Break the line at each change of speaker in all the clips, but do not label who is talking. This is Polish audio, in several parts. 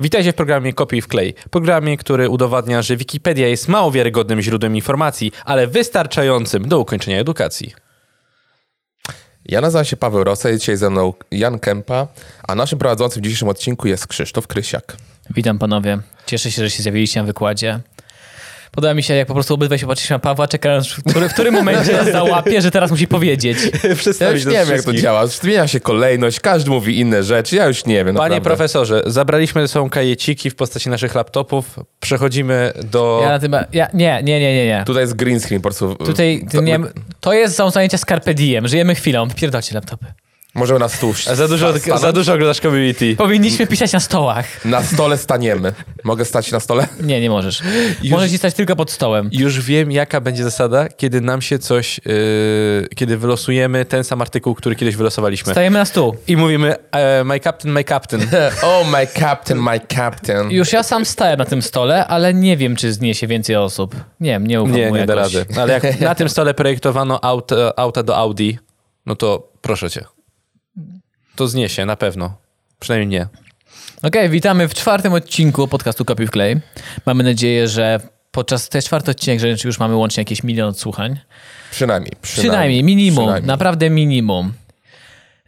Witajcie w programie Kopiuj w klej. Programie, który udowadnia, że Wikipedia jest mało wiarygodnym źródłem informacji, ale wystarczającym do ukończenia edukacji.
Ja nazywam się Paweł Rosa, jest dzisiaj ze mną Jan Kępa, a naszym prowadzącym w dzisiejszym odcinku jest Krzysztof Krysiak.
Witam panowie. Cieszę się, że się zjawiliście na wykładzie. Podoba mi się, jak po prostu obydwaj się patrzyliśmy na Pawła, czekając, w, który, w którym momencie załapie, że teraz musi powiedzieć.
Ja
Przedstawić
już nie wiem, jak to działa. Zmienia się kolejność, każdy mówi inne rzeczy, ja już nie wiem.
Panie
naprawdę.
profesorze, zabraliśmy ze sobą kajeciki w postaci naszych laptopów. Przechodzimy do...
Ja na tym, ja, nie, nie, nie, nie, nie.
Tutaj jest green screen po prostu. e,
Tutaj,
To-
to, nie, to jest są zajęcia z Carpe Diem. Żyjemy chwilą. Pierdolcie laptopy.
Możemy na stół.
A Za dużo,
sta-
za dużo oglądasz community.
Powinniśmy pisać na stołach.
Na stole staniemy. Mogę stać na stole?
Nie, nie możesz. Możesz ci stać tylko pod stołem.
Już wiem, jaka będzie zasada, kiedy nam się coś... Yy, kiedy wylosujemy ten sam artykuł, który kiedyś wylosowaliśmy.
Stajemy na stół.
I mówimy, e, my captain, my captain.
Oh, my captain, my captain.
Już ja sam stałem na tym stole, ale nie wiem, czy zniesie więcej osób. Nie wiem, nie ufam
Nie,
mu
nie da
jakoś.
rady. Ale jak na tym stole projektowano auta, auta do Audi, no to proszę cię. To zniesie, na pewno. Przynajmniej nie.
Okej, witamy w czwartym odcinku podcastu Kopi w Klej. Mamy nadzieję, że podczas ten czwarty odcinek, że już mamy łącznie jakieś milion odsłuchań.
Przynajmniej,
Przynajmniej, minimum,
Przynajmniej.
naprawdę minimum.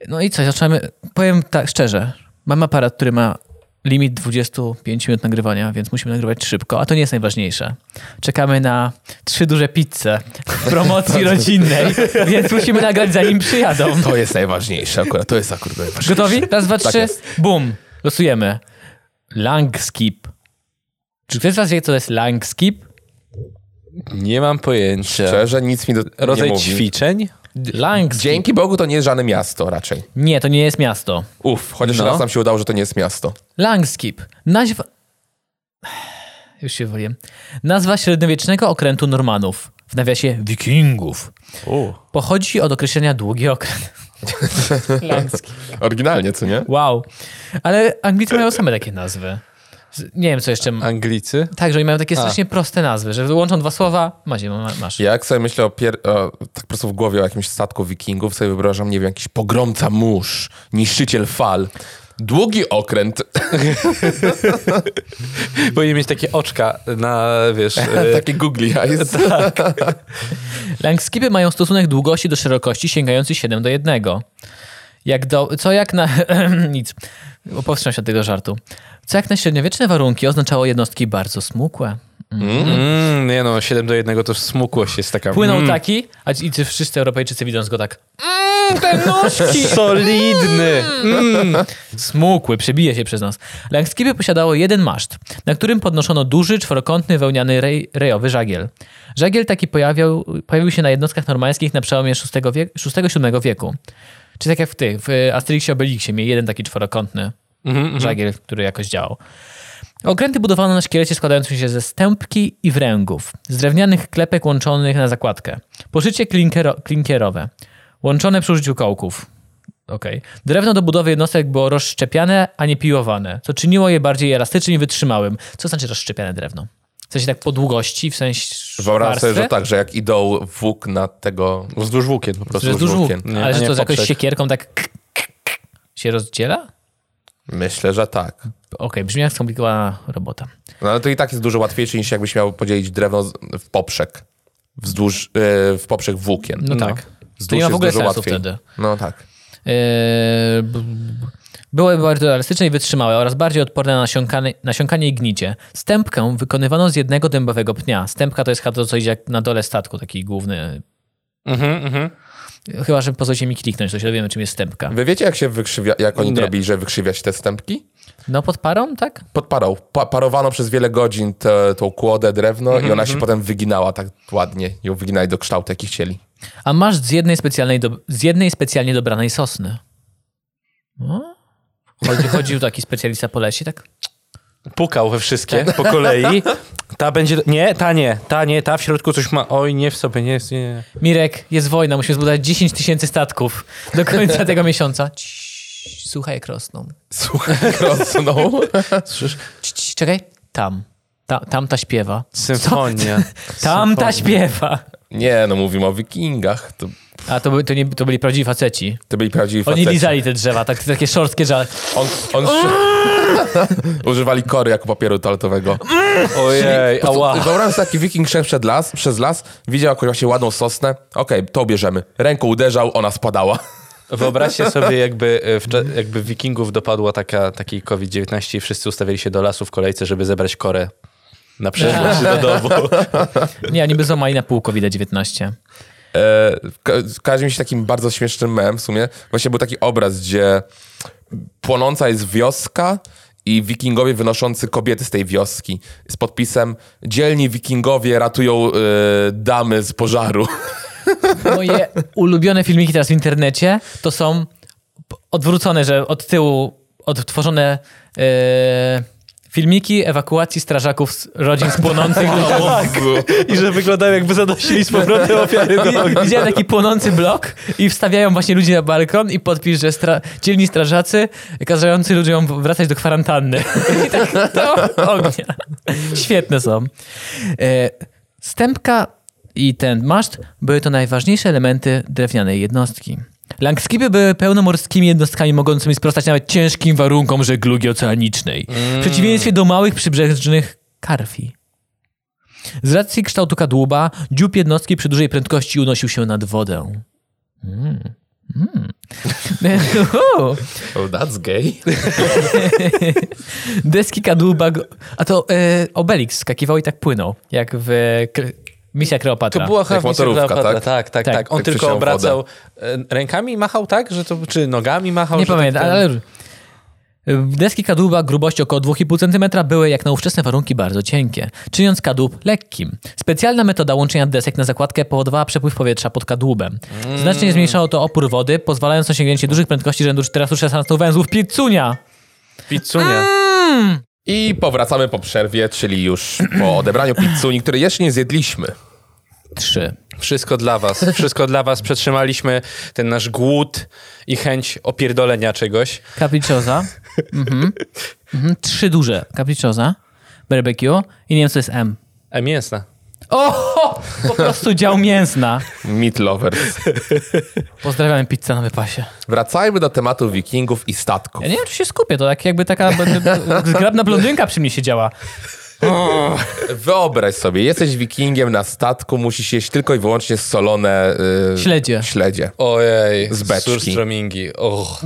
No i co, zaczynamy, powiem tak szczerze, mam aparat, który ma limit 25 minut nagrywania, więc musimy nagrywać szybko, a to nie jest najważniejsze. Czekamy na trzy duże pizze w promocji rodzinnej, więc musimy nagrać zanim przyjadą.
To jest najważniejsze akurat, to jest akurat najważniejsze.
Gotowi? Raz, dwa, trzy.
jest.
Tak Bum. Losujemy. Lang skip. Czy ktoś z was wie, co to jest lang skip?
Nie mam pojęcia.
Szczerze, nic mi do, nie
Rodzaj
mówi.
ćwiczeń?
Lang skip.
Dzięki Bogu to nie jest żadne miasto raczej.
Nie, to nie jest miasto.
Uff, chociaż
No.
raz nam się udało, że to nie jest miasto.
Lang skip. Nazwa... Już się wywołuję. Nazwa średniowiecznego okrętu Normanów. W nawiasie wikingów. Pochodzi od określenia długi okręt. lang skip.
Oryginalnie, co nie?
Wow. Ale Anglicy mają same takie nazwy. Z- Nie wiem, co jeszcze... ma-
Anglicy?
Tak, że oni mają takie strasznie proste nazwy, że łączą dwa słowa, macie, ma- masz.
Ja jak sobie myślę o, pier- o tak po prostu w głowie o jakimś statku wikingów, sobie wyobrażam, nie wiem, jakiś pogromca mórz, niszczyciel fal, długi okręt,
Powinien mieć takie oczka na, wiesz... e,
takie googly eyes.
Langskipy mają stosunek długości do szerokości sięgający 7 do 1. Jak do, co jak na... nic. Powstrzymam się od tego żartu. Co jak na średniowieczne warunki oznaczało jednostki bardzo smukłe.
Mm, nie no, 7 do 1 to smukłość jest taka...
Płynął tak.
mm,
taki, a ci, i ci wszyscy Europejczycy widząc go tak... Mmm, te nóżki!
Solidny!
Mm, smukły, przebije się przez nas. Langskipy posiadało jeden maszt, na którym podnoszono duży, czworokątny, wełniany rej, rejowy żagiel. Żagiel taki pojawiał, pojawił się na jednostkach normańskich na przełomie VI-VII wiek, VI-VII wieku. Czy tak jak w tych, w Asterixie Obelixie mieli jeden taki czworokątny
Mhm.
żagiel, który jakoś działał. Okręty budowano na szkielecie składającym się ze stępki i wręgów, z drewnianych klepek łączonych na zakładkę. Poszycie klinkero, klinkierowe, łączone przy użyciu kołków. Okej. Drewno do budowy jednostek było rozszczepiane, a nie piłowane, co czyniło je bardziej elastycznym i wytrzymałym. Co znaczy rozszczepiane drewno? W sensie tak po długości, w sensie
Wyobrażam sobie,
warstwy?
że tak, że jak idą włókna tego...
Wzdłuż włókien po prostu.
Że jest
wzdłuż
dużo
włókien,
włókien.
nie?
Ale
A
że
nie
to z jakąś
poprzek.
siekierką tak k- k- k- się rozdziela?
Myślę, że tak.
Okej, brzmi jak skomplikowana robota.
No ale to i tak jest dużo łatwiejsze niż jakbyś miał podzielić drewno z- w poprzek. Wzdłuż, e, w poprzek włókien.
No,
No.
tak.
Wzdłuż
To nie ma
jest
w ogóle
dużo
sensu
łatwiej.
wtedy.
No tak.
Eee, b- b- Były bardzo elastyczne i wytrzymałe oraz bardziej odporne na nasiąkanie, nasiąkanie i gnicie. Stępkę wykonywano z jednego dębowego pnia. Stępka to jest chyba to, co idzie jak na dole statku, taki główny.
Mhm, mhm.
Chyba, że pozwolicie mi kliknąć, to się dowiemy, czym jest stępka.
Wy wiecie, jak się wykrzywia, jak oni
Nie.
to robili, że wykrzywia się te stępki?
No pod parą, tak?
Pod parą. Pa parowano przez wiele godzin te, tą kłodę, drewno
Mhm,
i ona się potem wyginała tak ładnie. Ją wyginali do kształtu, jaki chcieli.
A masz z jednej, specjalnej do, z jednej specjalnie dobranej sosny. No. Chodzi, chodził taki specjalista po lesie, tak?
Pukał we wszystkie po kolei. Ta będzie... Nie, ta nie. Ta nie, ta w środku coś ma... Oj, nie w sobie, nie, nie.
Mirek, jest wojna, musimy zbudować 10 tysięcy statków do końca tego miesiąca. Ciii, Słuchaj, jak rosną.
Słuchaj, rosną.
Słyszysz?
Cii, cii, Czekaj, tam. Ta, tamta śpiewa.
Symfonia.
Tamta śpiewa.
Nie, no mówimy o wikingach. To,
A to, by- to, nie, to byli prawdziwi faceci.
to byli prawdziwi
Oni
faceci.
lizali te drzewa, tak, takie szorstkie żale.
On, on Używali kory jako papieru toaletowego.
Ojej, ała.
Wyobraź sobie taki wiking szedł przed las, przez las, widział jakąś właśnie ładną sosnę. Okej, to bierzemy. Ręką uderzał, ona spadała.
Wyobraźcie sobie, jakby, e, w, cza- jakby wikingów dopadła taka, taki COVID-19 i wszyscy ustawili się do lasu w kolejce, żeby zebrać korę na przyszłość
Tak.
do domu.
Nie, oni by złamali na pół COVID-19.
E, ka- Kojarzy mi się takim bardzo śmiesznym mem w sumie. Właśnie był taki obraz, gdzie płonąca jest wioska i wikingowie wynoszący kobiety z tej wioski z podpisem dzielni wikingowie ratują e, damy z pożaru.
Moje ulubione filmiki teraz w internecie to są p- odwrócone, że od tyłu odtworzone e, filmiki ewakuacji strażaków z rodzin z płonących domów.
Tak, I że wyglądają jakby zanosili z powrotem ofiary
I- Widziałem taki płonący blok i wstawiają właśnie ludzi na balkon i podpis, że stra- dzielni strażacy kazający ludziom wracać do kwarantanny. I tak do ognia. Świetne są. E, stępka i ten maszt były to najważniejsze elementy drewnianej jednostki. Langskipy były pełnomorskimi jednostkami mogącymi sprostać nawet ciężkim warunkom żeglugi oceanicznej.
Mm.
W przeciwieństwie do małych przybrzeżnych karfi. Z racji kształtu kadłuba, dziób jednostki przy dużej prędkości unosił się nad wodę. Mm. Mm.
Oh, that's gay.
Deski kadłuba... go- A to e, Obelix skakiwał i tak płynął, jak w e, Kre- Misja Kleopatra.
To była
Jak
chyba
motorówka,
tak?
tak?
Tak, tak,
Tak.
tak. On
Jak
tylko
przeciął
obracał e, rękami machał, tak? Że to, czy nogami machał?
Nie
że
pamiętam,
tak,
ale... Deski kadłuba grubości około 2,5 cm były jak na ówczesne warunki bardzo cienkie, czyniąc kadłub lekkim. Specjalna metoda łączenia desek na zakładkę powodowała przepływ powietrza pod kadłubem.
Mm.
Znacznie zmniejszało to opór wody, pozwalając na osiągnięcie dużych prędkości rzędu 416 węzłów piecunia.
Pizzunia.
I powracamy po przerwie, czyli już po odebraniu pizzuni, której jeszcze nie zjedliśmy.
3.
Wszystko dla was. Wszystko dla was. Przetrzymaliśmy ten nasz głód i chęć opierdolenia czegoś.
Capricciosa. Mhm. Mhm. Trzy duże. Capricciosa, barbecue i nie wiem, co jest M.
E, mięsna.
O! Po prostu dział mięsna.
Meat lovers.
Pozdrawiam pizzę na wypasie.
Wracajmy do tematu wikingów i statków.
Ja nie wiem, czy się skupię, to tak jakby taka b- b- zgrabna blondynka przy mnie siedziała.
Wyobraź sobie, jesteś wikingiem na statku, musisz jeść tylko i wyłącznie solone... y,
Śledzie.
Śledzie.
Ojej.
Z beczki.
Surstromingi. Och.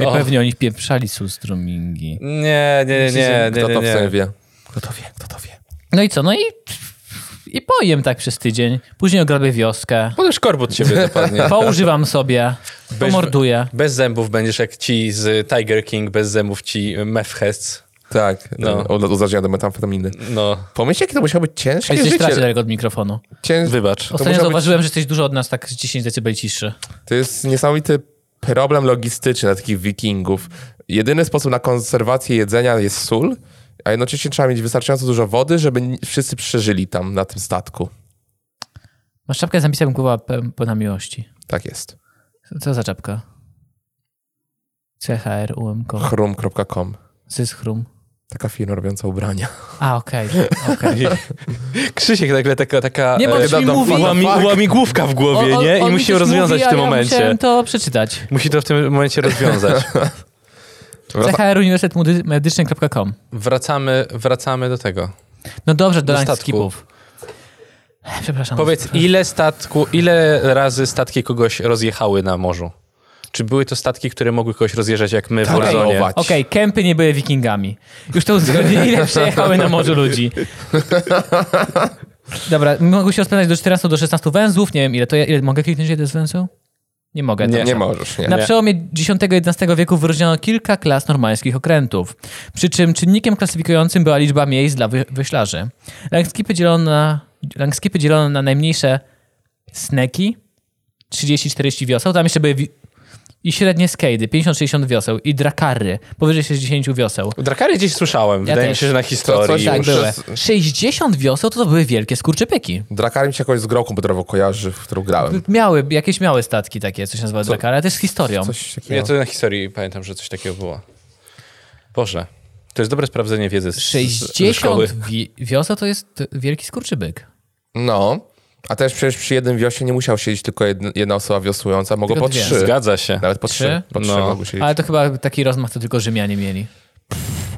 No. Pewnie oni pieprzali sustromingi.
Nie, nie, nie, nie, nie,
Kto to
nie,
w sumie
nie.
wie? Kto to wie? Kto to wie?
No i co? No i, i pojem tak przez tydzień. Później ograbię wioskę.
Bo też korbut ciebie dopadnie.
Poużywam sobie. Pomorduję.
Bez zębów będziesz jak ci z Tiger King, bez zębów ci Mefhes.
Tak,
No.
no. uzależnienia do metamfetaminy.
No,
Pomyśl, jakie to musiało być ciężkie
Jesteś
życie.
traci daleko od mikrofonu.
Cięż...
wybacz.
Ostatnio
musiał być-
zauważyłem, że jesteś dużo od nas tak z 10 dB ciszy.
To jest niesamowity problem logistyczny dla takich wikingów. Jedyny sposób na konserwację jedzenia jest sól, a jednocześnie trzeba mieć wystarczająco dużo wody, żeby ni- wszyscy przeżyli tam na tym statku.
Masz czapkę z napisem głowa pe- pełna miłości.
Tak jest.
Co za czapka? CHRUMK.
Chrum.com.
Syschrum.
Taka firma robiąca ubrania.
A, okej.
Krzysiek nagle taka, taka
Nie, bo
e,
on mi
dam
mówi...
fan-
łami, łamigłówka w głowie,
on-
nie? I
on mi
musi
coś
ją rozwiązać
mówi,
w
a
tym
ja
momencie.
Musiałem to przeczytać.
Musi to w tym momencie rozwiązać.
Wraca-
chruniwersytetmedyczny.com
wracamy, wracamy do tego.
No dobrze, do
Do
rank
statku.
skipów. Przepraszam.
Powiedz, ile statku, ile razy statki kogoś rozjechały na morzu? Czy były to statki, które mogły kogoś rozjeżdżać jak my w
Okej.
Orzonie?
Okej.
Okej, kępy nie były wikingami. Już to uzgodnili, ile przejechały na morzu ludzi. Dobra, mogę się rozpędzać do 14 do 16 węzłów, nie wiem ile to ja, ile mogę kliknąć jeden z węzeł? Nie mogę.
Nie.
dobrze.
Nie możesz, nie.
Na przełomie X-XI wieku wyróżniono kilka klas normańskich okrętów, przy czym czynnikiem klasyfikującym była liczba miejsc dla wy- wyślarzy. Langskipy dzielono na, langskipy dzielono na najmniejsze sneki, 30-40 wioseł, tam jeszcze były wi- i średnie skejdy, 50-60 wioseł i drakary, powyżej 60 wioseł.
Drakary gdzieś słyszałem.
Ja
Wydaje mi
też.
się, że na historii
coś
już.
Tak
już
były.
jest-
60 wioseł to, to były wielkie skurczypyki.
Drakar mi się jakoś z grą komputerową kojarzy, w którą grałem.
Miały, jakieś miały statki takie, coś nazywa drakary, ale to jest historią.
Coś takiego.
Ja to na historii pamiętam, że coś takiego było. Boże. To jest dobre sprawdzenie wiedzy z, z, ze szkoły.
60 wi- wioseł to jest wielki skurczybyk.
No. A też przecież przy jednym wiosie nie musiał siedzieć tylko jedna, jedna osoba wiosłująca, mogło
Tylko
po
dwie.
trzy.
Zgadza się.
Nawet po
Trzy?
trzy. Po trzy
No.
mogły siedzieć.
Ale to chyba taki rozmach to tylko Rzymianie mieli.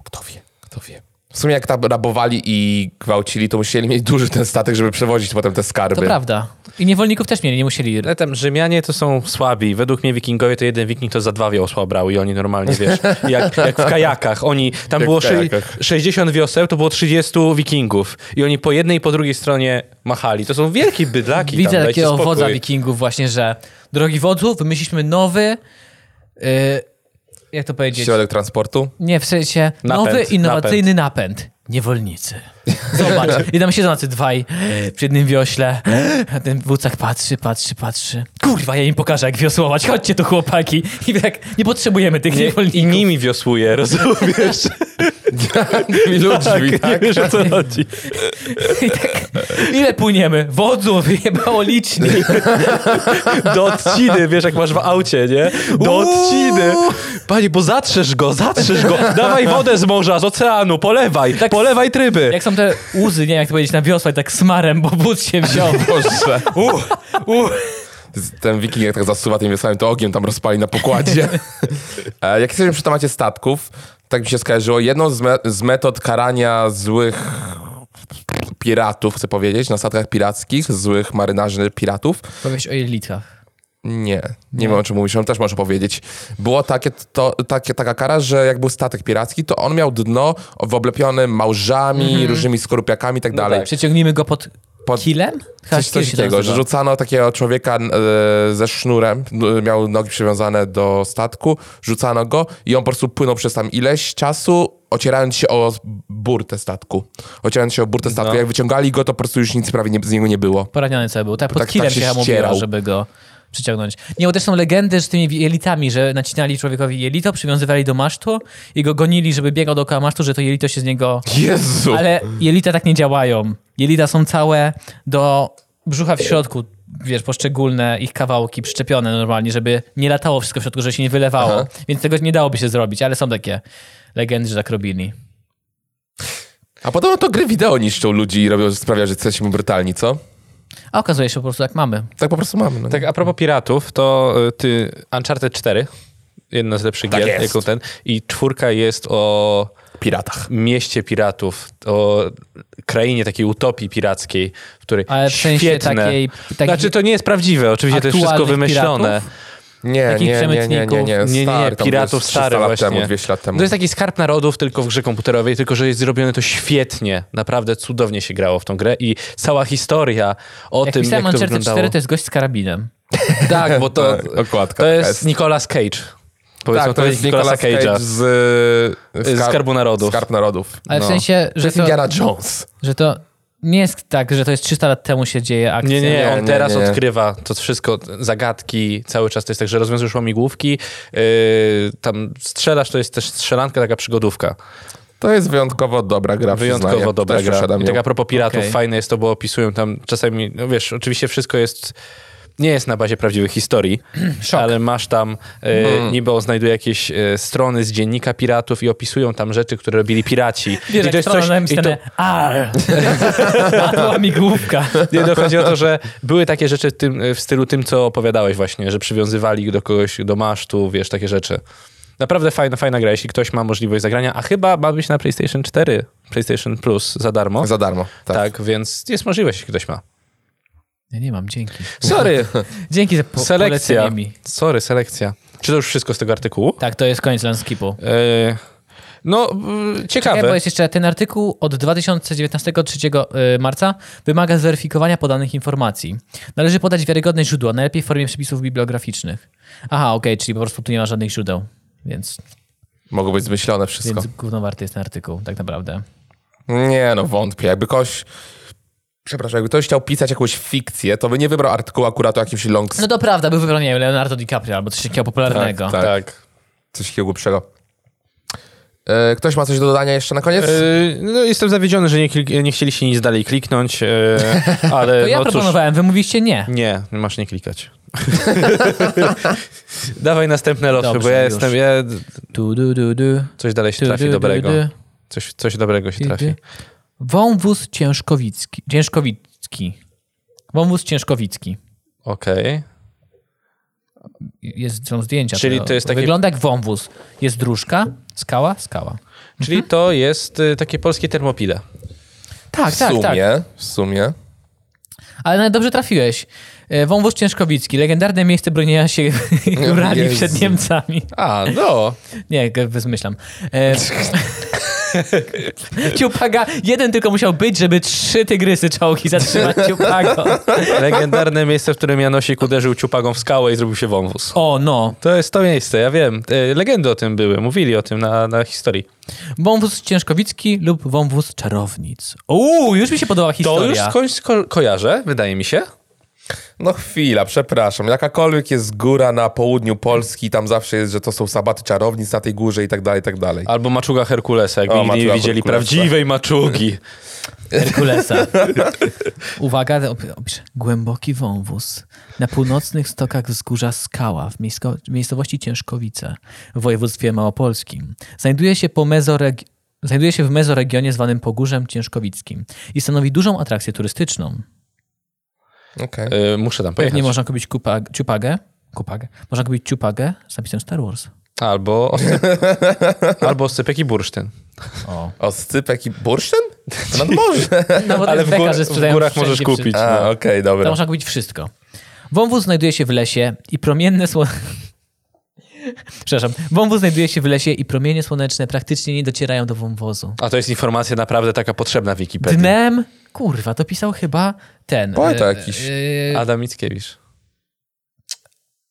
Kto wie, kto wie. W sumie jak tam rabowali i gwałcili, to musieli mieć duży ten statek, żeby przewozić potem te skarby.
To prawda. I niewolników też mieli, nie musieli.
Ale tam Rzymianie to są słabi. Według mnie wikingowie to jeden wiking to za dwa wiosła brał i oni normalnie, wiesz, jak, jak w kajakach. Oni, tam
Jak
było
w
szy-
kajakach.
60 wioseł, to było 30 wikingów. I oni po jednej i po drugiej stronie machali. To są wielkie bydlaki tam,
Widzę
dajcie
takiego
spokój.
wodza wikingów właśnie, że drogi wodzu, wymyśliliśmy nowy, yy, jak to powiedzieć?
Środek transportu.
Nie, w sensie
Napęd,
nowy innowacyjny napęd. Niewolnicy. Zobacz. I tam siedzą tacy dwaj y, przy jednym wiośle. A ten wódz tak patrzy, patrzy, patrzy. Kurwa, ja im pokażę jak wiosłować. Chodźcie tu chłopaki. I tak, nie potrzebujemy tych
Nie,
niewolników.
I nimi wiosłuje, rozumiesz?
Tymi ludźmi, tak?
wiesz o co chodzi.
I tak, ile płyniemy? Wodzu, wyjebało licznik.
Do odciny, wiesz, jak masz w aucie, nie? Do odciny. Panie, bo zatrzesz go, zatrzesz go. Dawaj wodę z morza, z oceanu, polewaj,
Tak-
polewaj tryby.
Jak są te łzy, nie wiem jak to powiedzieć, na wiosła i tak smarem, bo wódz się wziął.
Boże.
Uh, uh.
Z- Ten wiking jak tak zasuwa tym wiosłem, to ogień tam rozpali na pokładzie. E, jak jesteśmy przy temacie statków, tak mi się skojarzyło, jedną z, me- z metod karania złych piratów, chcę powiedzieć, na statkach pirackich, złych marynarzy piratów,
Powiedz o jelitach.
Nie, nie wiem o czym mówisz, on też może powiedzieć. Było takie, to, takie, taka kara, że jak był statek piracki, to on miał dno w oblepionym małżami, różnymi skorupiakami i tak dalej.
tak.
Przeciągnijmy go pod
Pod-
kilem?
Coś,
Kill
coś
się
takiego, że
nazywa.
rzucano takiego człowieka e, ze sznurem, n- miał nogi przywiązane do statku, rzucano go i on po prostu płynął przez tam ileś czasu, ocierając się o burtę statku. Ocierając się o burtę statku.
No.
Jak wyciągali go, to po prostu już nic prawie nie, z niego nie było.
Poraniony cały był. Tak, pod
tak-
kilem
tak się
się chyba mówiło,
ścierał.
żeby go przyciągnąć. Nie, bo też są legendy z tymi jelitami, że nacinali człowiekowi jelito, przywiązywali do masztu i go gonili, żeby biegał dookoła masztu, że to jelito się z niego...
Jezu!
Ale jelita tak nie działają. Jelita są całe do brzucha w środku, wiesz, poszczególne ich kawałki przyczepione normalnie, żeby nie latało wszystko w środku, żeby się nie wylewało.
Aha.
Więc tego nie dałoby się zrobić, ale są takie legendy, że tak robili.
A podobno to gry wideo niszczą ludzi i robią, sprawia, że jesteśmy brutalni, co?
A okazuje się po prostu, jak mamy.
Tak po prostu mamy. No.
Tak, a propos piratów, to y, ty Uncharted 4, jedna z lepszych
Tak
gier,
jest.
jaką ten, i czwórka jest o
Piratach.
mieście piratów, o krainie takiej utopii pirackiej, w której
Ale w sensie
świetne.
takiej- takich-
Znaczy to nie jest prawdziwe, oczywiście to jest wszystko
Aktualnych
wymyślone.
piratów?
Nie,
Takich
nie, nie, nie, nie,
przemytników.
nie,
Nie, nie,
stary,
nie,
tam to
piratów
jest 300
stary
lat
właśnie.
temu, 200 lat temu.
To jest taki skarb narodów tylko w grze komputerowej, tylko że jest zrobione to świetnie. Naprawdę cudownie się grało w tą grę i cała historia o
Jak
tym,
pisałem
jak to
Uncharted
wyglądało.
4, to jest gość z karabinem.
Tak, bo to,
Tak, okładka
to jest
jest.
Nicolas Cage. Powiedzmy,
tak, to jest
Nicolasa
Nicolas Cage z, y,
Z Skarbu Narodów.
Skarb Narodów.
Ale w
No.
sensie,
To
że
jest
to,
Indiana Jones.
że to nie jest tak, że to jest 300 lat temu się dzieje akcja.
Nie, nie,
Nie,
on
nie,
teraz
nie.
odkrywa to wszystko, zagadki, cały czas to jest tak, że rozwiązujesz łamigłówki, yy, tam strzelasz, to jest też strzelanka, taka przygodówka.
To jest wyjątkowo dobra gra,
Wyjątkowo
przyznaję.
dobra
Też
gra.
posiadam
I
ją.
tak a propos piratów,
Okej.
fajne jest to, bo opisują tam czasami, no wiesz, oczywiście wszystko jest, nie jest na bazie prawdziwych historii, ale masz tam, e, niby on znajduje jakieś e, strony z dziennika piratów i opisują tam rzeczy, które robili piraci.
Wiesz,
I
jak strona
i to,
napisane AR. Padła mi główka.
Nie, no chodzi o to, że były takie rzeczy w, tym, y, w stylu tym, co opowiadałeś właśnie, że przywiązywali do kogoś do masztu, wiesz, takie rzeczy. Naprawdę fajna, fajna gra, jeśli ktoś ma możliwość zagrania, a chyba ma być na PlayStation 4, PlayStation Plus za darmo.
Za darmo. Tak.
tak. więc jest możliwość, jeśli ktoś ma.
Ja nie mam, dzięki.
Sorry,
Dzięki za po
selekcja.
polecenie mi.
Sorry, selekcja. Czy to już wszystko z tego artykułu?
Tak, to jest koniec Landskipu.
E, no, y, ciekawe.
Ciekawe, bo jest jeszcze ten artykuł od 2019 3 y, marca wymaga zweryfikowania podanych informacji. Należy podać wiarygodne źródła, najlepiej w formie przepisów bibliograficznych. Aha, okej, czyli po prostu tu nie ma żadnych źródeł. Więc,
Mogło być zmyślone wszystko.
więc gówno warty jest ten artykuł, tak naprawdę.
Nie, no wątpię. Jakby ktoś... Przepraszam, jakby ktoś chciał pisać jakąś fikcję, to by nie wybrał artykułu akurat o jakimś long...
No to prawda, był wybrany nie wiem, Leonardo DiCaprio albo coś takiego popularnego.
tak.
Tak.
Coś takiego głupszego. E, ktoś ma coś do dodania jeszcze na koniec?
E, no, jestem zawiedziony, że nie, klik- nie chcieliście nic dalej kliknąć, e, ale
To ja
no cóż.
proponowałem, wy mówiliście nie.
Nie, masz nie klikać. Dawaj następne losy,
Dobrze,
bo ja
już.
jestem. Ja,
Tu, du, du, du.
coś dalej się
Tu,
trafi
du, du,
dobrego.
du.
Coś, coś dobrego się
Ty, ty.
trafi.
Wąwóz ciężkowicki. Ciężkowicki. Wąwóz ciężkowicki.
Okej.
Jest, są zdjęcia.
Czyli
tego.
to jest takie-
Wygląda jak wąwóz. Jest dróżka, skała, skała. Mhm.
Czyli to jest y, takie polskie termopile.
Tak,
W
tak, tak.
sumie, w sumie.
Ale nawet dobrze trafiłeś. E, Wąwóz Ciężkowicki, legendarne miejsce bronienia się górali
Jezu.
przed Niemcami.
A, no.
Nie, g- zmyślam. E, Ciupaga, jeden tylko musiał być, żeby trzy tygrysy czołgi zatrzymać Ciupago.
Legendarne miejsce, w którym Janosik uderzył ciupagą w skałę i zrobił się wąwóz.
O, no.
To jest to miejsce, ja wiem. Y, Legendy o tym były, mówili o tym na, na historii.
Wąwóz Ciężkowicki lub wąwóz Czarownic. Uuu, już mi się podoba
To już
historia.
skądś ko- kojarzę, wydaje mi się.
No chwila, przepraszam. Jakakolwiek jest góra na południu Polski, tam zawsze jest, że to są sabaty czarownic na tej górze i tak dalej, i tak dalej.
Albo maczuga Herkulesa, jakby
O,
nigdy nie
maczuga
widzieli
Herkulesa.
prawdziwej maczugi.
Herkulesa. Uwaga, op- opiszę. Głęboki wąwóz. Na północnych stokach wzgórza Skała w miejsko- miejscowości Ciężkowice w województwie małopolskim. Znajduje się, po mezoreg- znajduje się w mezoregionie zwanym Pogórzem Ciężkowickim i stanowi dużą atrakcję turystyczną.
Okej.
Y, muszę tam pojechać.
Pewnie można kupić kupag- ciupagę. Kupagę. Można kupić ciupagę z napisem Star Wars.
Albo oscyp... Albo oscypek i bursztyn.
O.
O, scypek i bursztyn? Nad morze.
No bo to
Ale
jest
w,
beka,
gór...
że
w
sprzedają
górach
wszędzie
możesz
przy-
kupić.
A,
No.
okej, dobra.
Tam można kupić wszystko. Wąwóz znajduje się w lesie i promienne sło... Przepraszam. Wąwóz znajduje się w lesie i promienie słoneczne praktycznie nie docierają do wąwozu.
A to jest informacja naprawdę taka potrzebna w Wikipedii.
Dnem... Kurwa, to pisał chyba ten...
Poeta
e,
jakiś.
e,
Adam Mickiewicz.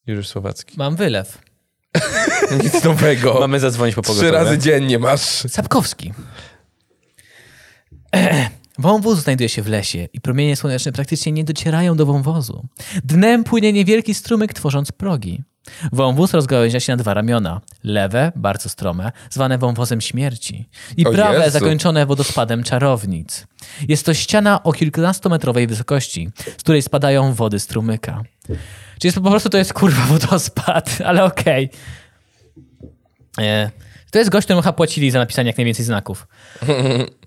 Juliusz Słowacki.
mam wylew.
Nic nowego.
Mamy zadzwonić po pogotowie.
Trzy razy dziennie masz.
Sapkowski. Wąwóz znajduje się w lesie i promienie słoneczne praktycznie nie docierają do wąwozu. Dnem płynie niewielki strumyk, tworząc progi. Wąwóz rozgałęzia się na dwa ramiona. Lewe, bardzo strome, zwane wąwozem śmierci. I
O
prawe,
Jezu.
zakończone wodospadem czarownic. Jest to ściana o kilkunastometrowej wysokości, z której spadają wody strumyka. Czyli jest, po prostu to jest kurwa wodospad, ale okej. E, To jest gość, któremu chyba płacili za napisanie jak najwięcej znaków.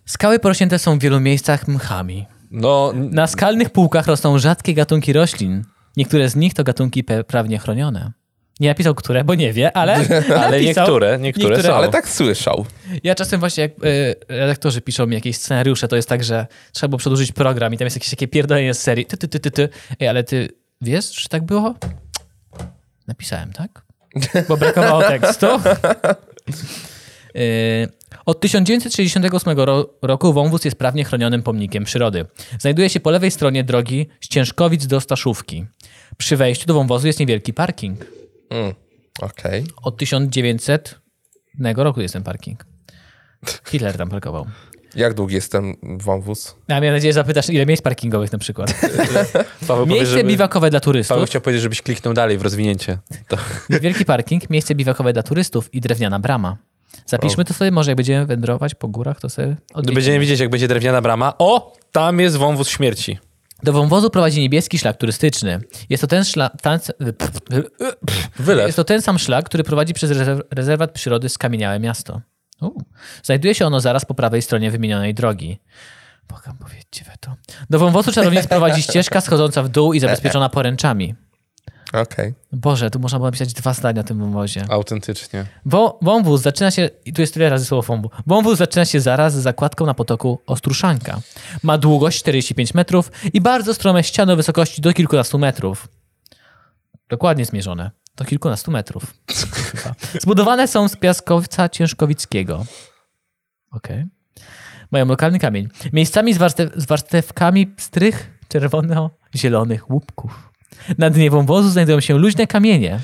Skały porośnięte są w wielu miejscach mchami.
No, n-
Na skalnych półkach rosną rzadkie gatunki roślin. Niektóre z nich to gatunki pe- prawnie chronione. Nie napisał które, bo nie wie, ale.
ale
napisał.
niektóre, niektóre,
No.
są.
Ale tak słyszał.
Ja czasem właśnie, jak y, redaktorzy piszą mi jakieś scenariusze, to jest tak, że trzeba było przedłużyć program i tam jest jakieś takie pierdolenie z serii. Ty, ty, ty, ty, ty. Ej, ale ty wiesz, czy tak było? Napisałem, tak? Bo brakowało tekstu. Y, Od 1968 ro- roku wąwóz jest prawnie chronionym pomnikiem przyrody. Znajduje się po lewej stronie drogi z Ciężkowic do Staszówki. Przy wejściu do wąwozu jest niewielki parking.
Mm. Okej.
Od 1900 roku jest ten parking. Hitler tam parkował.
Jak długi jest ten wąwóz?
Ja miałem nadzieję, że zapytasz, ile miejsc parkingowych na przykład.
Paweł powie,
Miejsce
żeby-
biwakowe dla
Paweł
turystów.
chciał powiedzieć, żebyś kliknął dalej w rozwinięcie. To...
Wielki parking, miejsce biwakowe dla turystów i drewniana brama. Zapiszmy to sobie, może jak będziemy wędrować po górach, to sobie odwiedzimy.
Będziemy widzieć, jak No będzie drewniana brama. O! Tam jest wąwóz śmierci.
Do wąwozu prowadzi niebieski szlak turystyczny. Jest to ten szlak...
Wylew.
Jest to ten sam szlak, który prowadzi przez rezerw- rezerwat przyrody Skamieniałe Miasto. U. Znajduje się ono zaraz po prawej stronie wymienionej drogi. Bogam, powiedzcie we to. Do wąwozu czarownic prowadzi ścieżka schodząca w dół i zabezpieczona poręczami.
Okej.
Boże, tu można było napisać dwa zdania o tym wąwozie.
Autentycznie.
Bo wąwóz zaczyna się, i tu jest tyle razy słowo wąwóz, wąwóz zaczyna się zaraz z zakładką na potoku Ostruszanka. Ma długość 45 metrów i bardzo strome ściany o wysokości do kilkunastu metrów. Dokładnie zmierzone. Do kilkunastu metrów. Chyba. Zbudowane są z piaskowca ciężkowickiego. Okej. Mają lokalny kamień. Miejscami z, warstew, z warstewkami pstrych, czerwono-zielonych łupków. Na dnie wąwozu znajdują się luźne kamienie.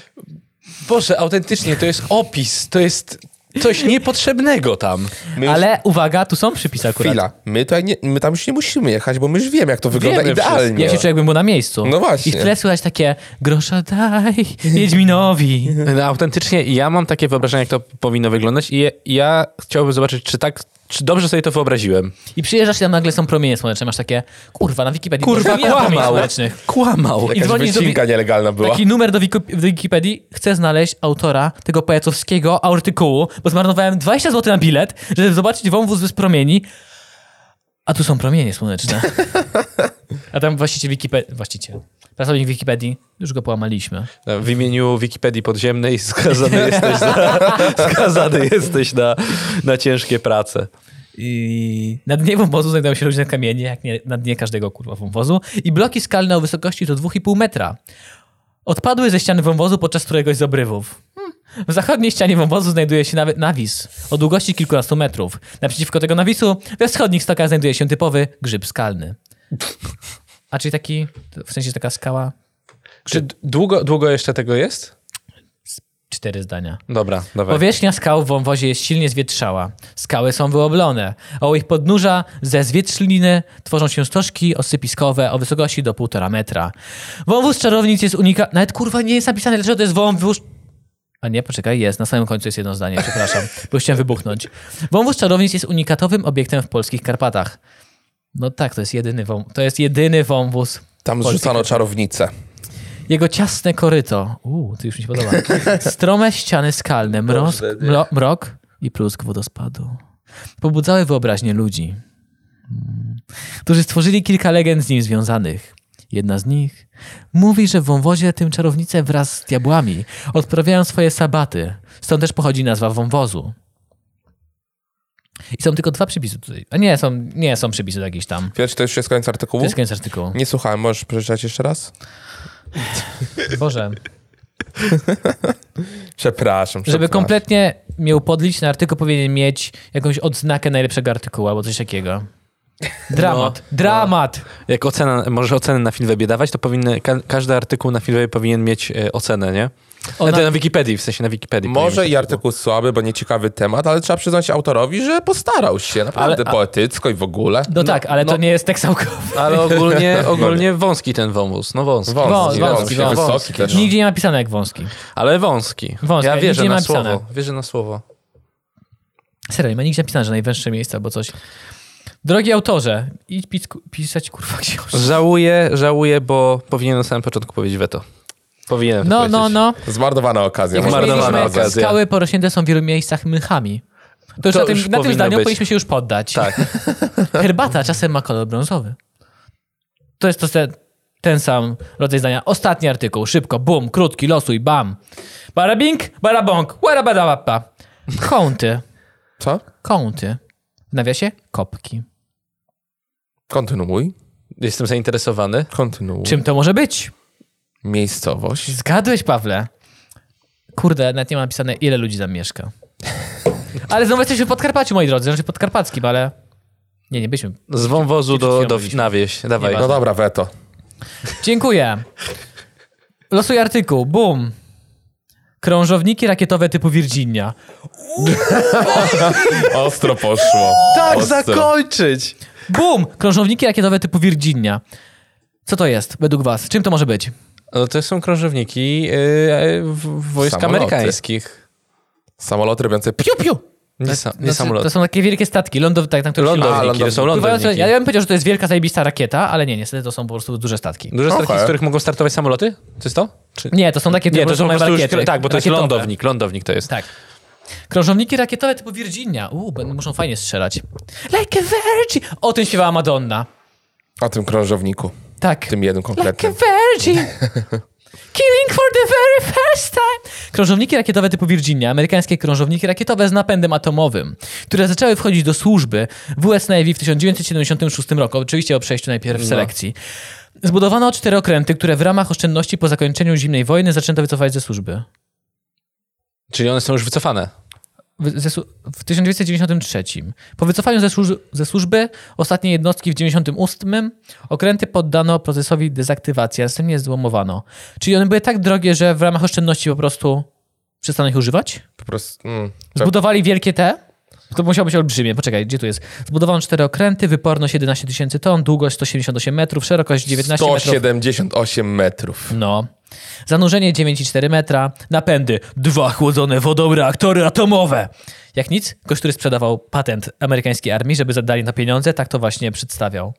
Boże, autentycznie, to jest opis. To jest coś niepotrzebnego tam.
My już-
Ale uwaga, tu są przypisy akurat.
Chwila. My, tutaj nie, my tam już nie musimy jechać, bo my już wiemy, jak to wygląda
Wiemy
idealnie.
Ja się czuję, jakbym był na miejscu.
No właśnie.
I w tle słychać takie grosza daj Wiedźminowi.
No, autentycznie ja mam takie wyobrażenie, jak to powinno wyglądać i je- ja chciałbym zobaczyć, czy tak, czy dobrze sobie to wyobraziłem.
I przyjeżdżasz i tam nagle są promienie słoneczne. Masz takie, kurwa, na Wikipedii
Kurwa,
nie ma promieni
kłamał.
słonecznych.
Kłamał.
I
Jakaś
dzwoni do
wycinka nielegalna była.
Taki numer do Wiku- do Wikipedii. Chcę znaleźć autora tego pajacowskiego artykułu, bo zmarnowałem 20 zł na bilet, żeby zobaczyć wąwóz bez promieni. A tu są promienie słoneczne. A tam właściciel Wikipedii, właściciel, pracownik Wikipedii, już go połamaliśmy.
no, W imieniu Wikipedii podziemnej skazany jesteś na, skazany jesteś na, na ciężkie prace.
I na dnie wąwozu znajdują się różne kamienie, jak nie, na dnie każdego kurwa wąwozu, i bloki skalne o wysokości do 2,5 metra. Odpadły ze ściany wąwozu podczas któregoś z obrywów. Hmm. W zachodniej ścianie wąwozu znajduje się nawi- nawis o długości kilkunastu metrów. Naprzeciwko tego nawisu we wschodnich stokach znajduje się typowy grzyb skalny. A czyli taki, w sensie taka skała?
Czy d- długo, długo jeszcze tego jest?
Cztery zdania.
Dobra, dawaj.
Powierzchnia skał w wąwozie jest silnie zwietrzała. Skały są wyoblone, a u ich podnóża ze zwietrzliny tworzą się stożki osypiskowe o wysokości do 1,5 metra. Wąwóz czarownic jest unikalny. Nawet kurwa nie jest napisane, dlaczego to jest wąwóz. A nie, poczekaj, jest. Na samym końcu jest jedno zdanie, przepraszam, bo chciałem wybuchnąć. Wąwóz czarownic jest unikatowym obiektem w polskich Karpatach. No tak, to jest jedyny, wą... to jest jedyny wąwóz.
Tam
Polski
rzucano czarownicę.
jego ciasne koryto. Uuu, ty już mi się podoba. Strome ściany skalne, mroz,
Kurde, nie.
mro, mrok i plusk wodospadu. Pobudzały wyobraźnię ludzi, mm, którzy stworzyli kilka legend z nim związanych. Jedna z nich mówi, że w wąwozie tym czarownice wraz z diabłami odprawiają swoje sabaty. Stąd też pochodzi nazwa wąwozu. I są tylko dwa przepisy tutaj. A nie, są, nie są przepisy do jakichś tam.
Wiesz, to już jest koniec artykułu?
To jest koniec artykułu.
Nie słuchałem, możesz przeczytać jeszcze raz?
Boże.
Przepraszam.
Żeby
przepraszam.
kompletnie mnie upodlić, na artykuł powinien mieć jakąś odznakę najlepszego artykułu albo coś takiego. Dramat. dramat.
Jak ocena, możesz oceny na Filwebie dawać, to powinny, ka- każdy artykuł na Filwebie powinien mieć e, ocenę, nie? E,
Ona-
Na, na Wikipedii, w sensie na Wikipedii. powinien
Może
mieć
i artykuł słaby, bo nieciekawy temat, ale trzeba przyznać autorowi, że postarał się. Naprawdę
Ale- a-
poetycko i w ogóle.
No, tak, ale
no.
to nie jest tekst naukowy.
Ale ogólnie, ogólnie wąski ten wąwóz, no wąski.
Wąs,
Wąs,
wąski,
wąski, wąs.
wysoki też.
Nigdzie nie ma pisane jak wąski.
Ale wąski.
Wąski,
ja
ale
wierzę
nigdzie
na
nie ma
słowo.
napisane.
Wierzę na słowo.
Serio, nie ma nigdzie napisane, że najwyższe miejsce albo coś. Drogi autorze, idź pis- pisać kurwa książkę.
Żałuję, żałuję, bo powinienem na samym początku powiedzieć weto. Powinienem to
No,
powiedzieć.
no, no.
Zmarnowana okazja.
Jak
można
Zmarnowana
Mieliśmy,
powiedzieć.
okazja.
Skały porośnięte są w wielu miejscach mchami. To już
To
na tym,
już
na tym
powinno
zdaniu
być.
powinniśmy się już poddać.
Tak.
Herbata czasem ma kolor brązowy. To jest to se, ten sam rodzaj zdania. Ostatni artykuł, szybko, bum, krótki, losuj, bam. Barabing, barabong, warabadabapa. Kąty,
Co?
kąty. W nawiasie kopki.
Kontynuuj.
Jestem zainteresowany.
Kontynuuj.
Czym to może być?
Miejscowość.
Zgadłeś, Pawle. Kurde, nawet nie ma napisane, ile ludzi tam mieszka. Ale znowu jesteśmy w Podkarpaciu, moi drodzy. Znaczy podkarpackim, ale... Nie, nie byliśmy.
Z wąwozu do, do
Przyjmujemy się.
na wieś. Dawaj.
No dobra, weto.
Dziękuję. Losuj artykuł. Bum. Krążowniki rakietowe typu Virginia.
Ostro poszło.
tak
Ostro.
zakończyć!
Bum! Krążowniki rakietowe typu Virginia. Co to jest według was? Czym to może być?
No to są krążowniki yy, w- wojsk
Samoloty.
amerykańskich.
Samolot robiący piu piu.
Nie, sa, nie
No, to,
samoloty.
To są takie wielkie statki, lądow, tak, na których się
lądowniki,
A,
ląduje.
lądowniki.
to są
Pływają-
lądowniki.
Ja bym powiedział, że to jest wielka, zajebista rakieta, ale nie, niestety to są po prostu duże statki.
Duże statki,
Okej.
z których mogą startować samoloty? To jest to? Czy...
Nie, to są takie
Nie, to są po
małe
prostu już...
rakiety,
Tak, bo to jest
rakietowe.
lądownik. Lądownik to jest.
Tak. Krążowniki rakietowe typu Virginia. Uuu, będą- muszą fajnie strzelać. Like a virgin! O tym śpiewała Madonna.
O tym krążowniku.
Tak.
Tym jednym
Like a
konkretnym.
virgin. Killing for the very first time. Krążowniki rakietowe typu Virginia, amerykańskie krążowniki rakietowe z napędem atomowym, które zaczęły wchodzić do służby w US Navy w 1976 roku, oczywiście o przejściu
No.
najpierw selekcji. Zbudowano cztery okręty, które w ramach oszczędności po zakończeniu zimnej wojny zaczęto wycofać ze służby.
Czyli one są już wycofane.
W, ze, su- w 1993. Po wycofaniu ze, służ- ze służby ostatniej jednostki w 1998 okręty poddano procesowi dezaktywacji, a następnie złomowano. Czyli one były tak drogie, że w ramach oszczędności po prostu przestano ich używać?
Po prostu. Mm.
Zbudowali wielkie te? To musiało być olbrzymie. Poczekaj, gdzie tu jest? Zbudowano cztery okręty, wyporność 11 tysięcy ton, długość 178 metrów, szerokość 19 metrów.
178 metrów.
No. Zanurzenie 9,4 metra, napędy, dwa chłodzone wodą reaktory atomowe. Jak nic, gość, który sprzedawał patent amerykańskiej armii, żeby zadali na pieniądze, tak to właśnie przedstawiał.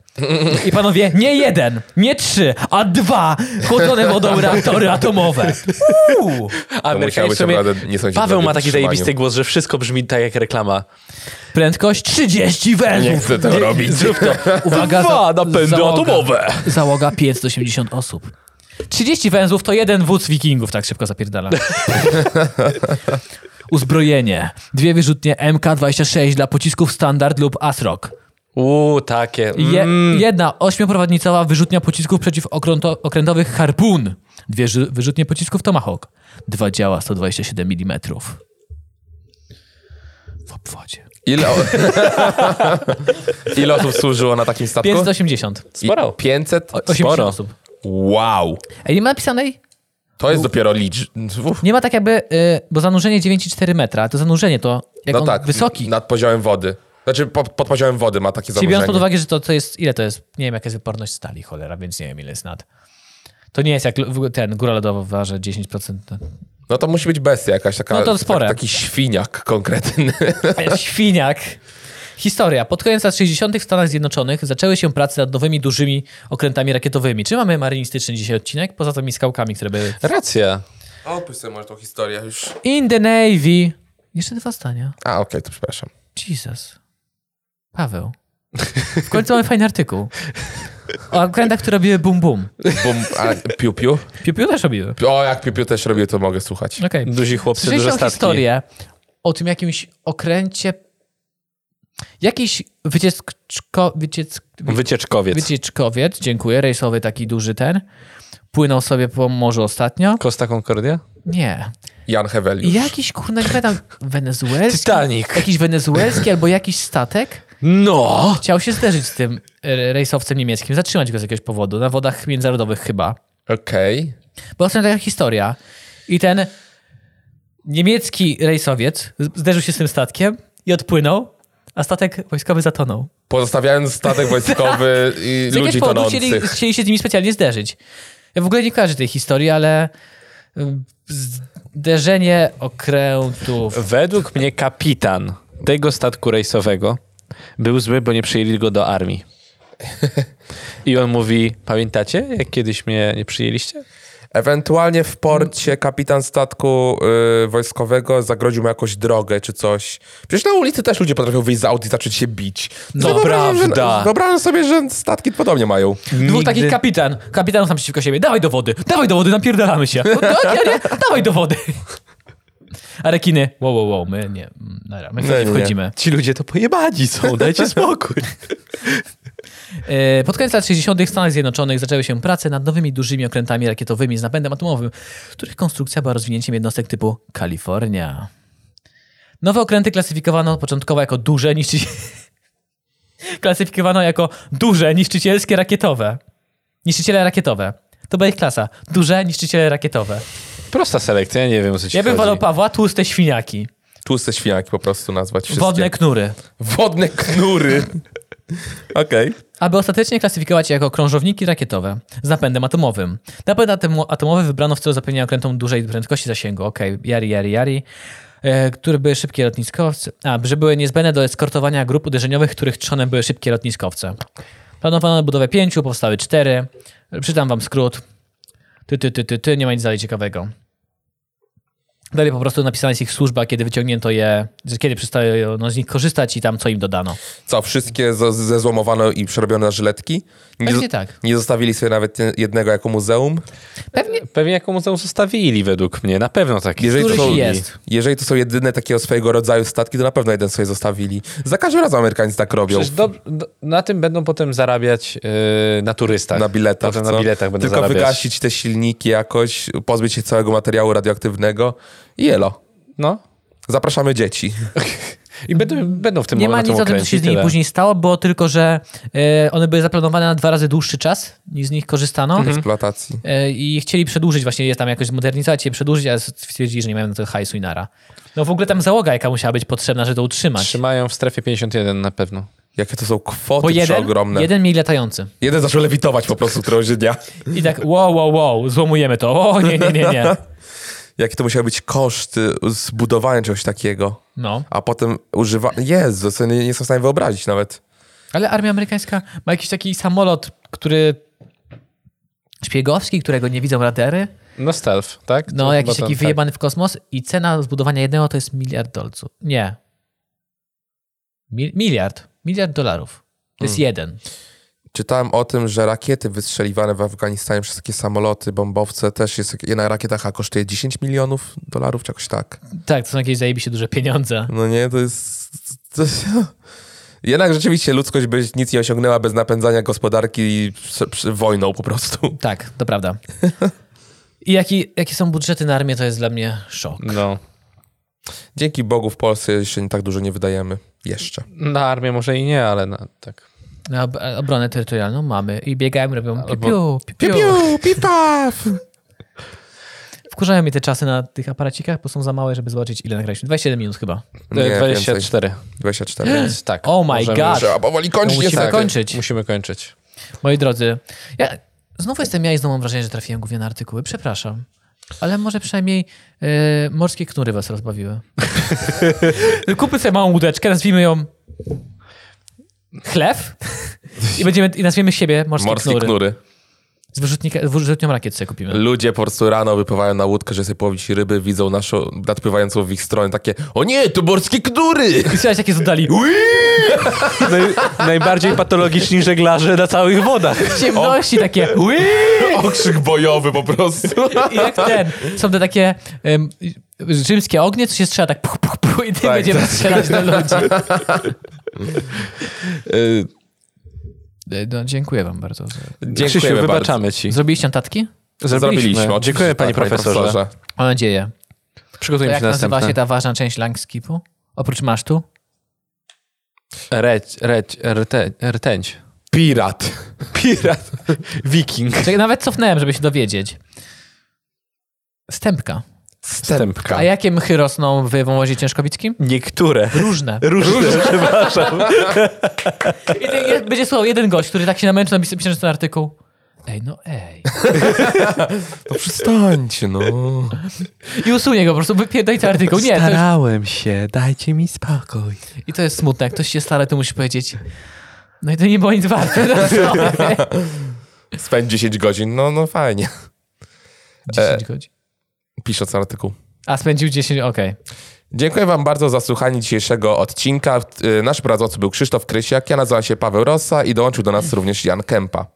I panowie, nie jeden, nie trzy, a dwa chłodzone wodą reaktory atomowe. Uuu.
musiało
Amerykanin
być
w sumie...
naprawdę niesamowicie
Paweł
drogie
ma taki
utrzymaniu.
zajebisty głos, że wszystko brzmi tak jak reklama.
Prędkość 30
Nie
węzłów.
chcę tego robić.
Zrób to.
Uwaga,
Dwa napędy atomowe.
Załoga 5 do 80 osób. 30 węzłów to jeden wóz wikingów, tak szybko zapierdala. Uzbrojenie. Dwie wyrzutnie MK-26 dla pocisków standard lub ASROK.
Uuu, takie.
Je,
Mm.
Jedna ośmioprowadnicowa wyrzutnia pocisków przeciwokrętowych Harpun. Dwie ży- wyrzutnie pocisków Tomahawk. Dwa działa 127 mm. W obwodzie.
Ile, o... Ile osób służyło na takim statku?
580.
I
Sporo.
500?
80 osób.
Wow.
Ej, nie ma napisanej?
To jest dopiero licz... Uf.
Nie ma tak jakby, y, bo zanurzenie 9,4 metra, to zanurzenie to, jak
No
on
tak.
wysoki.
Nad poziomem wody. Znaczy po, pod poziomem wody ma takie
Czyli biorąc pod
zanurzenie.
uwagę, że to, to jest, ile to jest, nie wiem jaka jest wyporność stali, cholera, więc nie wiem ile jest nad. To nie jest jak l- w- ten, góra lodowa waży 10%.
No to musi być bestia jakaś taka.
No to spore.
Tak, taki świniak konkretny.
Świniak. Historia. Pod koniec lat 60. w Stanach Zjednoczonych zaczęły się prace nad nowymi, dużymi okrętami rakietowymi. Czy mamy marynistyczny dzisiaj odcinek? Poza tymi skałkami, które były.
Racja.
Opisz sobie może tą historię już.
In the Navy. Jeszcze dwa stania.
A, okej, to przepraszam.
Jesus. Paweł. W końcu mamy fajny artykuł. O okrętach, które robiły bum bum.
Bum, a piu piu?
Piu-piu też robiły.
O, jak piu piu też robię, to mogę słuchać.
Okej.
Duzi chłopcy, duże
Słyszałem
Mm, statki.
historię o tym jakimś okręcie. Jakiś wycieczko, wyciec,
Wycieczkowiec.
wycieczkowiec, dziękuję, rejsowy taki duży ten, płynął sobie po morzu ostatnio.
Costa Concordia?
Nie.
Jan Heweliusz.
I jakiś, kurna, nie pamiętam, wenezuelski?
Titanic.
Jakiś wenezuelski albo jakiś statek?
No!
Chciał się zderzyć z tym e, rejsowcem niemieckim, zatrzymać go z jakiegoś powodu, na wodach międzynarodowych chyba.
Okej.
Była to taka historia. I ten niemiecki rejsowiec z- zderzył się z tym statkiem i odpłynął, a statek wojskowy zatonął.
Pozostawiając statek wojskowy i
Z jakiegoś
ludzi
powodu chcieli,
tonących.
chcieli się z nimi specjalnie zderzyć. Ja w ogóle nie kojarzę tej historii, ale ym, zderzenie okrętów.
Według mnie kapitan tego statku rejsowego był zły, bo nie przyjęli go do armii. I on mówi, pamiętacie, jak kiedyś mnie nie przyjęliście?
Ewentualnie w porcie kapitan statku y, wojskowego zagroził mu jakąś drogę czy coś. Przecież na ulicy też ludzie potrafią wyjść z aut i zacząć się bić.
No
wyobrażam,
prawda.
Że, wyobrażam sobie, że statki podobnie mają.
Dwóch takich kapitan. Kapitanów tam przeciwko siebie. Dawaj do wody, dawaj do wody, napierdalamy się. No, tak, ja nie, dawaj do wody. A rekiny, wow, wow, wow, my nie, mm, dobra, my w to
Nie,
nie
nie.
wchodzimy.
Ci ludzie to pojebani są, dajcie spokój.
E, Pod koniec lat 60. w Stanach Zjednoczonych zaczęły się prace nad nowymi dużymi okrętami rakietowymi z napędem atomowym, których konstrukcja była rozwinięciem jednostek typu Kalifornia. Nowe okręty klasyfikowano początkowo jako duże niszczycielskie. klasyfikowano jako duże niszczycielskie rakietowe. Niszczyciele rakietowe. To była ich klasa. Duże niszczyciele rakietowe.
Prosta selekcja, ja nie wiem, o co ci
Ja bym
chodzi.
wolał Pawła tłuste świniaki.
Tłuste świniaki po prostu nazwać wszystkie.
Wodne knury.
Wodne knury. Okej.
aby ostatecznie klasyfikować je jako krążowniki rakietowe z napędem atomowym. Napęd atom- atomowy wybrano w celu zapewnienia okrętom dużej prędkości zasięgu, okej, jari, jari, jari, e, które były szybkie lotniskowce, a, że były niezbędne do eskortowania grup uderzeniowych, których trzonem były szybkie lotniskowce. Planowano budowę pięciu, powstały cztery. Przytam wam skrót. Ty, ty, ty, ty, ty, nie ma nic dalej ciekawego. Dalej po prostu napisana jest ich służba, kiedy wyciągnięto je, że kiedy przestają z nich korzystać i tam co im dodano.
Co, wszystkie ze- zezłomowano i przerobione na żyletki? Nie,
Pewnie
zo-
tak.
nie zostawili sobie nawet nie- jednego jako muzeum?
Pewnie
Pewnie jaką muzeum zostawili według mnie, na pewno taki.
Jeżeli to,
Któryś
są,
jest.
jeżeli to są jedyne takiego swojego rodzaju statki, to na pewno jeden sobie zostawili. Za każdym razem Amerykanie tak robią.
Przecież dob- do, na tym będą potem zarabiać yy, na turystach.
Na biletach.
Potem na
co?
biletach będą
Tylko
zarabiać.
wygasić te silniki jakoś, pozbyć się całego materiału radioaktywnego i jelo.
No.
Zapraszamy dzieci.
I będą, będą w tym
Nie ma
na
nic
tym
o tym, co
okręcie
się
i
z nimi
tyle.
później stało, było tylko, że e, one były zaplanowane na dwa razy dłuższy czas, niż z nich korzystano.
Mhm.
Eksploatacji.
E, I chcieli przedłużyć, właśnie je tam jakoś zmodernizować, je przedłużyć, ale stwierdzili, że nie mają na to hajsu i
Znaczy,
nara. No w ogóle tam załoga, jaka musiała być potrzebna, żeby to utrzymać.
Trzymają w strefie 51 na pewno.
Jakie to są kwoty
Bo jeden,
przeogromne. Jeden...
jeden mieli latający.
zaczął lewitować po prostu któregoś dnia.
I tak wow, wow, wow, złomujemy to. O, nie, nie, nie, nie.
Jakie to musiały być koszty zbudowania czegoś takiego.
No.
A potem używa... Jezu, sobie nie, nie jestem w stanie wyobrazić nawet.
Ale armia amerykańska ma jakiś taki samolot, który... Szpiegowski, którego nie widzą radary.
No stealth, tak? To
No,
chyba
jakiś
ten,
taki
tak.
wyjebany w kosmos i cena zbudowania jednego to jest miliard dolców. Nie. Mil- miliard. Miliard dolarów. To
Hmm.
jest jeden.
Czytałem o tym, że rakiety wystrzeliwane w Afganistanie przez takie samoloty, bombowce też jest... Jedna rakieta H kosztuje 10 milionów dolarów, czy jakoś tak.
Tak, to są jakieś zajebiście duże pieniądze.
No nie, to jest... To... Jednak rzeczywiście ludzkość by nic nie osiągnęła bez napędzania gospodarki prze- prze- wojną po prostu.
Tak, to prawda. I jaki, jakie są budżety na armię, to jest dla mnie szok.
No.
Dzięki Bogu w Polsce jeszcze nie tak dużo nie wydajemy. Jeszcze.
Na armię może i nie, ale na, tak.
Na ob- obronę terytorialną mamy i biegają, robią piu, piu,
Albo-
piu, piu.
pipaf!
Wkurzają mnie te czasy na tych aparacikach, bo są za małe, żeby zobaczyć ile nagraliśmy. 27 minut chyba.
Nie,
Nie,
24.
24.
24.
Więc tak.
Oh my
możemy-
God.
Trzeba powoli kończyć.
No musimy
niestety.
kończyć.
Musimy kończyć.
Moi drodzy, ja znowu jestem ja i znowu mam wrażenie, że trafiłem głównie na artykuły. Przepraszam. Ale może przynajmniej e, morskie knury was rozbawiły. Kupmy sobie małą łódeczkę, nazwijmy ją chlew i, będziemy, i nazwiemy siebie morskie,
Morskie
knury.
knury.
Z, wyrzutnika, z wyrzutnią rakiet sobie kupimy.
Ludzie po prostu rano wypływają na łódkę, żeby sobie połowić ryby, widzą naszą nadpływającą w ich stronę takie o nie, to morskie knury!
I słyszałeś, jakie z oddali.
najbardziej patologiczni żeglarze na całych wodach.
W ciemności takie.
Okrzyk bojowy po prostu.
I jak ten. Są te takie em, rzymskie ognie, co się strzela tak puch, puch, puch, i ty
Tak,
będziemy
tak.
strzelać do ludzi.
Y,
E, No, dziękuję wam bardzo.
Dziękujemy
Krzysiu,
bardzo.
wybaczamy ci.
Zrobiliście notatki?
Zrobiliśmy. oczywiście,
Dziękuję,
tak,
panie profesorze.
Mam nadzieję. To
Przygotujmy
jak
się
nazywa się
następne.
ta ważna część langskipu? Oprócz masztu?
Reć, reć, rte, rtęć.
Pirat.
Pirat. Wiking.
Czekaj, nawet cofnąłem, żeby się dowiedzieć. Stępka.
Stępka.
A jakie mchy rosną w wąwozie ciężkowickim?
Niektóre.
Różne.
Różne.
I ty, je- będzie słuchał jeden gość, który tak się namęczył, napisał napisał ten artykuł. Ej, no ej.
No przestańcie, no.
I usunie go po prostu, wypierdajcie artykuł. Nie, to już...
Starałem się, dajcie mi spokój.
I to jest smutne, jak ktoś się stara, to musi powiedzieć no i to nie było nic warte. No, sorry.
Spędź 10 godzin, no, no fajnie.
10 godzin.
Pisząc artykuł.
A spędził 10, okej.
Dziękuję Wam bardzo za słuchanie dzisiejszego odcinka. Y, Nasz prowadzący był Krzysztof Krysiak, ja nazywam się Paweł Rosa i dołączył do nas również Jan Kępa.